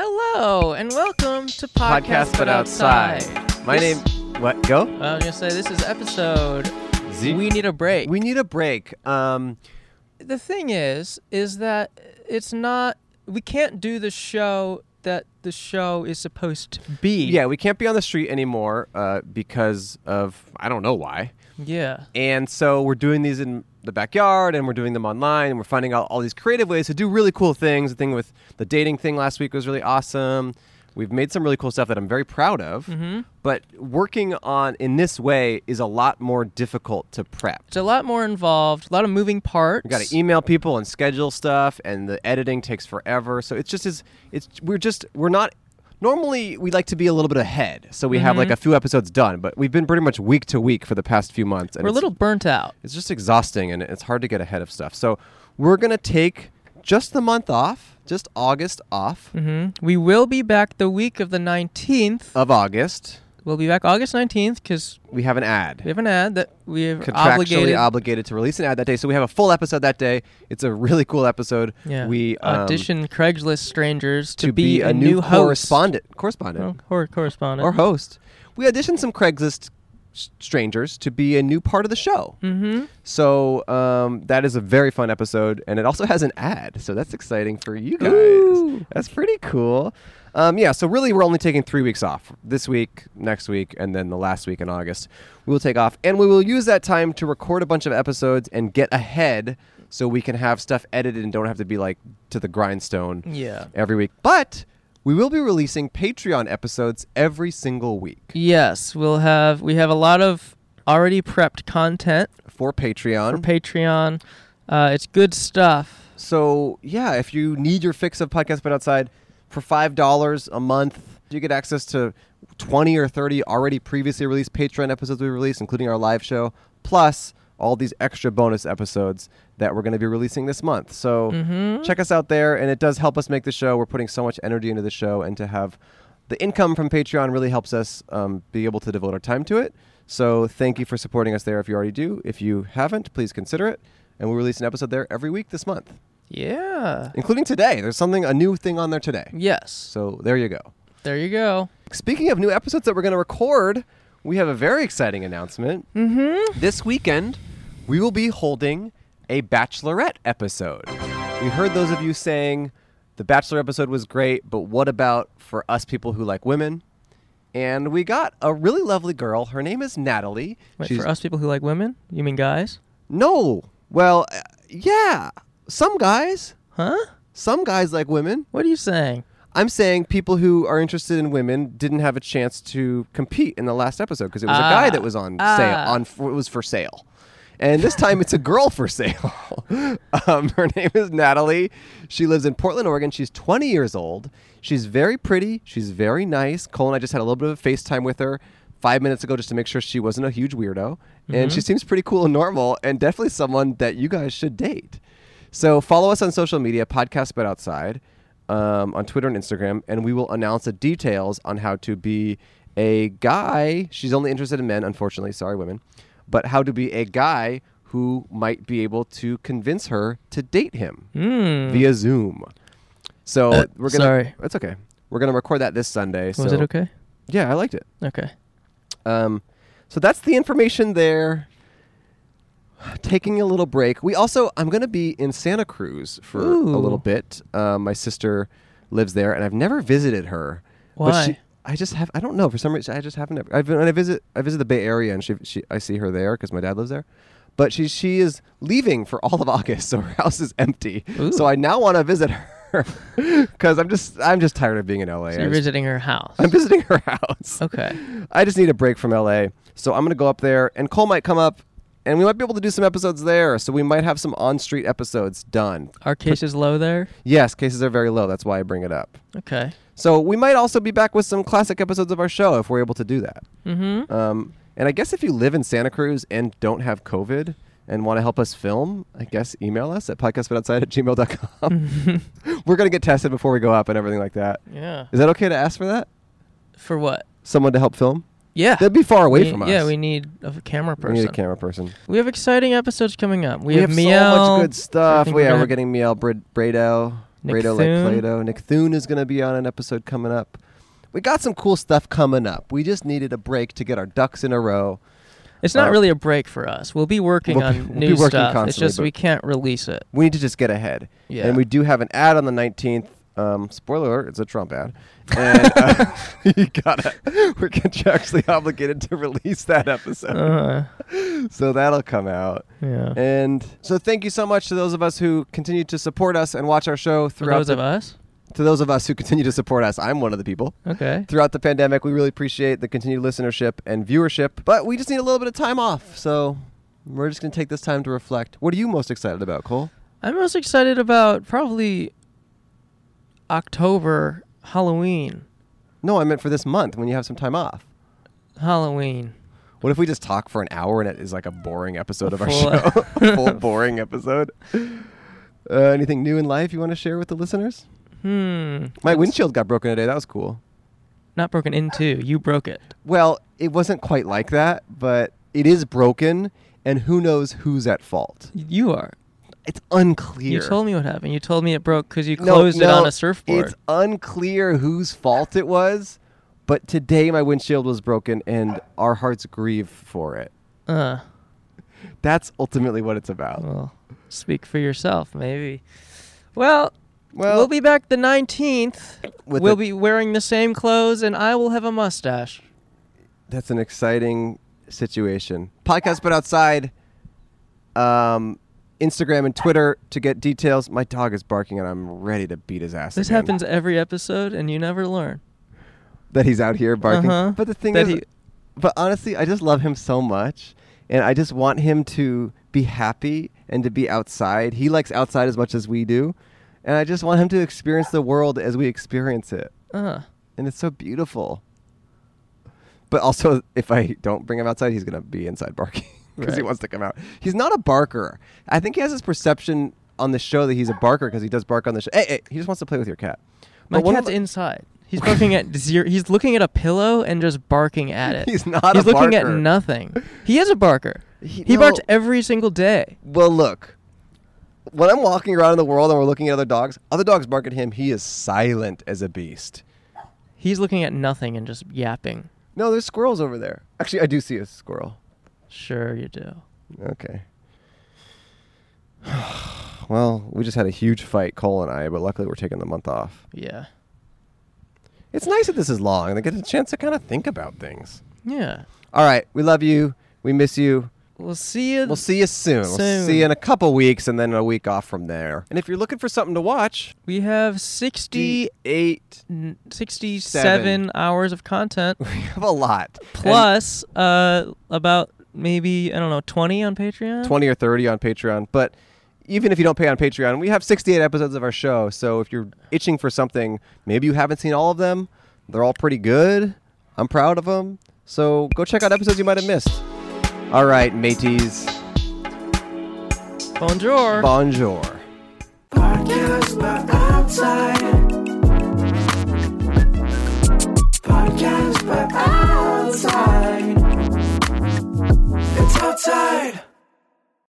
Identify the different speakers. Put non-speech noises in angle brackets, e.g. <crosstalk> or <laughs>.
Speaker 1: Hello and welcome to Podcast,
Speaker 2: Podcast But Outside. My
Speaker 1: This-
Speaker 2: name. What? Go.
Speaker 1: I was gonna say this is episode. we need a break.
Speaker 2: We need a break. Um,
Speaker 1: the thing is, is that it's not. We can't do the show that the show is supposed to be.
Speaker 2: yeah, we can't be on the street anymore uh, because of I don't know why.
Speaker 1: Yeah.
Speaker 2: And so we're doing these in the backyard, and we're doing them online, and we're finding out all these creative ways to do really cool things. The thing with the dating thing last week was really awesome. We've made some really cool stuff that I'm very proud of. But working on in this way is a lot more difficult to prep.
Speaker 1: It's a lot more involved. A lot of moving parts.
Speaker 2: You got to email people and schedule stuff, and the editing takes forever. So it's just is it's we're just we're not normally we like to be a little bit ahead, so we have like
Speaker 1: Mm-hmm.
Speaker 2: a few episodes done, but we've been pretty much week to week for the past few months. And
Speaker 1: We're a
Speaker 2: it's-
Speaker 1: little burnt out.
Speaker 2: It's just exhausting, and it's hard to get ahead of stuff. So we're gonna take just the month off, just August off
Speaker 1: hmm We will be back the week of the nineteenth.
Speaker 2: of August.
Speaker 1: We'll be back August nineteenth because
Speaker 2: We have an ad.
Speaker 1: we have an ad that we have
Speaker 2: contractually
Speaker 1: obligated.
Speaker 2: obligated. to release an ad that day. So we have a full episode that day. It's a really cool episode.
Speaker 1: yeah.
Speaker 2: We um,
Speaker 1: audition Craigslist strangers to,
Speaker 2: to be, a, new,
Speaker 1: host. Oh.
Speaker 2: correspondent. Correspondent.
Speaker 1: Well, Or correspondent.
Speaker 2: or host. We auditioned some Craigslist s- strangers to be a new part of the show.
Speaker 1: mm-hmm.
Speaker 2: So um, that is a very fun episode, and it also has an ad. So that's exciting for you guys.
Speaker 1: Ooh.
Speaker 2: That's pretty cool. Um, yeah, so really, we're only taking three weeks off this week, next week, and then the last week in August. We will take off, and we will use that time to record a bunch of episodes and get ahead so we can have stuff edited and don't have to be like to the grindstone
Speaker 1: Yeah.
Speaker 2: every week. But we will be releasing Patreon episodes every single week
Speaker 1: Yes, we'll have we have a lot of already prepped content
Speaker 2: for Patreon.
Speaker 1: for Patreon. Uh, it's good stuff.
Speaker 2: so yeah, if you need your fix of podcast but outside for five dollars a month, you get access to twenty or thirty already previously released Patreon episodes we released, including our live show, plus all these extra bonus episodes that we're going to be releasing this month. So check us out there, and it does help us make the show. We're putting so much energy into the show, and to have the income from Patreon really helps us um, be able to devote our time to it. So thank you for supporting us there if you already do. If you haven't, please consider it. And we release an episode there every week this month,
Speaker 1: Yeah.
Speaker 2: including today. There's something, a new thing on there today.
Speaker 1: Yes.
Speaker 2: So there you go.
Speaker 1: There you go.
Speaker 2: Speaking of new episodes that we're going to record, we have a very exciting announcement. Mm-hmm. This weekend, we will be holding a Bachelorette episode. We heard those of you saying the Bachelor episode was great, but what about for us people who like women? And we got a really lovely girl. Her name is Natalie.
Speaker 1: Wait, for us people who like women, you mean guys?
Speaker 2: No. Well, uh, yeah. Some guys,
Speaker 1: Huh?
Speaker 2: some guys like women.
Speaker 1: What are you saying?
Speaker 2: I'm saying people who are interested in women didn't have a chance to compete in the last episode because it was a guy
Speaker 1: Ah.
Speaker 2: that was on
Speaker 1: Ah.
Speaker 2: sale. On f- it was for sale, and this time it's a girl for sale. <laughs> um, her name is Natalie. She lives in Portland, Oregon. She's 20 years old. She's very pretty. She's very nice. Cole and I just had a little bit of a FaceTime with her five minutes ago just to make sure she wasn't a huge weirdo, and she seems pretty cool and normal, and definitely someone that you guys should date. So follow us on social media, podcast but outside, um, on Twitter and Instagram, and we will announce the details on how to be a guy. She's only interested in men, unfortunately. Sorry, women, but how to be a guy who might be able to convince her to date him
Speaker 1: Hmm. Uh,
Speaker 2: via Zoom. So we're gonna.
Speaker 1: sorry.
Speaker 2: It's okay. We're gonna record that this Sunday. so
Speaker 1: Was Oh, it okay?
Speaker 2: Yeah, I liked it.
Speaker 1: Okay.
Speaker 2: Um, so that's the information there. Taking a little break. We also, I'm going to be in Santa Cruz for
Speaker 1: Ooh.
Speaker 2: a little bit. Um, my sister lives there, and I've never visited her.
Speaker 1: Why?
Speaker 2: But she, I just have. I don't know. For some reason, I just haven't. ever- I've been, and I visit. I visit the Bay Area, and she, she I see her there because my dad lives there. But she, she is leaving for all of August, <laughs> so her house is empty.
Speaker 1: Ooh.
Speaker 2: So I now want to visit her <laughs> because I'm just, I'm just tired of being in LA. I
Speaker 1: You're
Speaker 2: just-
Speaker 1: visiting her house.
Speaker 2: I'm visiting her <laughs> house.
Speaker 1: okay.
Speaker 2: I just need a break from LA. So I'm going to go up there, and Cole might come up, and we might be able to do some episodes there. So we might have some on street episodes done.
Speaker 1: Our case is low there.
Speaker 2: Yes, cases are very low. That's why I bring it up.
Speaker 1: Okay.
Speaker 2: So we might also be back with some classic episodes of our show if we're able to do that.
Speaker 1: Mm-hmm.
Speaker 2: Um, and I guess if you live in Santa Cruz and don't have COVID and want to help us film, I guess email us at podcastbutoutside at gmail.com. we're going to get tested before we go up and everything like that.
Speaker 1: Yeah.
Speaker 2: Is that okay to ask for that?
Speaker 1: For what? But-
Speaker 2: Someone to help film?
Speaker 1: Yeah.
Speaker 2: They'd be far away
Speaker 1: We-
Speaker 2: from us.
Speaker 1: Yeah, we need a camera person.
Speaker 2: We need a camera person.
Speaker 1: We have exciting episodes coming up. We,
Speaker 2: We, have,
Speaker 1: Miel.
Speaker 2: so much good
Speaker 1: I
Speaker 2: stuff.
Speaker 1: think
Speaker 2: We
Speaker 1: we're
Speaker 2: are.
Speaker 1: gonna-
Speaker 2: We're getting Miel Br- Bredo.
Speaker 1: Nick
Speaker 2: Radio
Speaker 1: Thune.
Speaker 2: Like Plato. Nick Thune is going to be on an episode coming up. We got some cool stuff coming up. We just needed a break to get our ducks in a row.
Speaker 1: It's not
Speaker 2: Uh,
Speaker 1: really a break for us. We'll be working
Speaker 2: We'll be-
Speaker 1: on
Speaker 2: <laughs> we'll
Speaker 1: new
Speaker 2: be working
Speaker 1: stuff. It's
Speaker 2: constantly,
Speaker 1: just
Speaker 2: but-
Speaker 1: we can't release
Speaker 2: <laughs>
Speaker 1: it.
Speaker 2: We need to just get ahead.
Speaker 1: Yeah.
Speaker 2: And we do have an ad on the 19th. Um, spoiler alert, it's a Trump ad. And uh, <laughs> you gotta, <laughs> we're contractually obligated to release that episode.
Speaker 1: Uh,
Speaker 2: So that'll come out.
Speaker 1: yeah.
Speaker 2: And so thank you so much to those of us who continue to support us and watch our show
Speaker 1: For
Speaker 2: throughout
Speaker 1: those
Speaker 2: the,
Speaker 1: of us.
Speaker 2: to those of us who continue to support us. I'm one of the people.
Speaker 1: Okay.
Speaker 2: Throughout the pandemic, we really appreciate the continued listenership and viewership, but we just need a little bit of time off. So we're just going to take this time to reflect. What are you most excited about, Cole?
Speaker 1: I'm most excited about probably October Halloween.
Speaker 2: No, I meant for this month when you have some time off.
Speaker 1: Halloween.
Speaker 2: What if we just talk for an hour and it is like a boring episode
Speaker 1: A
Speaker 2: of our
Speaker 1: full-
Speaker 2: show?
Speaker 1: <laughs>
Speaker 2: full boring episode. Uh, anything new in life you want to share with the listeners?
Speaker 1: Hmm.
Speaker 2: My windshield got broken today. That was cool.
Speaker 1: Not broken into. You broke it.
Speaker 2: Well, it wasn't quite like that, but it is broken, and who knows who's at fault?
Speaker 1: You are.
Speaker 2: It's unclear.
Speaker 1: You told me what happened. You told me it broke because you closed it on a surfboard.
Speaker 2: It's unclear whose fault it was, but today my windshield was broken, and our hearts grieve for it.
Speaker 1: uh.
Speaker 2: That's ultimately what it's about.
Speaker 1: Well, speak for yourself, maybe. Well,
Speaker 2: Well-
Speaker 1: we'll be back the 19th.
Speaker 2: With
Speaker 1: we'll
Speaker 2: the-
Speaker 1: be wearing the same clothes, and I will have a mustache.
Speaker 2: That's an exciting situation. Podcast, but outside. Um, Instagram and Twitter to get details. My dog is barking, and I'm ready to beat his ass.
Speaker 1: This
Speaker 2: again.
Speaker 1: happens every episode, and you never learn.
Speaker 2: that he's out here barking.
Speaker 1: Uh-huh.
Speaker 2: But the thing
Speaker 1: That
Speaker 2: is,
Speaker 1: he-
Speaker 2: but honestly, I just love him so much, and I just want him to be happy and to be outside. He likes outside as much as we do, and I just want him to experience the world as we experience it,
Speaker 1: Uh,
Speaker 2: and it's so beautiful. But also, if I don't bring him outside, he's gonna be inside barking <laughs> because he
Speaker 1: Right.
Speaker 2: wants to come out. He's not a barker. I think he has this perception on the show that he's a barker because he does bark on the show. Hey, hey, he just wants to play with your cat.
Speaker 1: my
Speaker 2: But one of
Speaker 1: cat's
Speaker 2: the-
Speaker 1: inside. He's looking
Speaker 2: <laughs>
Speaker 1: at zero. He's looking at a pillow and just barking at it.
Speaker 2: He's not a
Speaker 1: He's looking at
Speaker 2: barker.
Speaker 1: nothing. He is a barker.
Speaker 2: He-
Speaker 1: He, barks
Speaker 2: no.
Speaker 1: every single day.
Speaker 2: Well, look, when I'm walking around in the world and we're looking at other dogs, other dogs bark at him. He is silent as a beast.
Speaker 1: He's looking at nothing and just yapping.
Speaker 2: No, there's squirrels over there. Actually, I do see a squirrel.
Speaker 1: Sure, you do.
Speaker 2: Okay. <sighs> Well, we just had a huge fight, Cole and I, but luckily we're taking the month off.
Speaker 1: Yeah.
Speaker 2: It's nice that this is long and I get a chance to kind of think about things.
Speaker 1: Yeah.
Speaker 2: All right, we love you. We miss you.
Speaker 1: We'll see you.
Speaker 2: We'll see you soon. We'll
Speaker 1: Soon.
Speaker 2: see you in a couple weeks and then a week off from there. And if you're looking for something to watch,
Speaker 1: We have 60,
Speaker 2: eight.
Speaker 1: n- 67
Speaker 2: Seven.
Speaker 1: hours of
Speaker 2: <laughs>
Speaker 1: content
Speaker 2: We have a lot. And-
Speaker 1: plus uh, about maybe I don't know 20 on Patreon.
Speaker 2: 20 or 30 on Patreon. But even if you don't pay on Patreon, we have 68 episodes of our show. So if you're itching for something, maybe you haven't seen all of them. They're all pretty good. I'm proud of them. So go check out episodes you might have missed. All right, mateys.
Speaker 1: Bonjour.
Speaker 2: Bonjour.
Speaker 3: Podcast, but outside.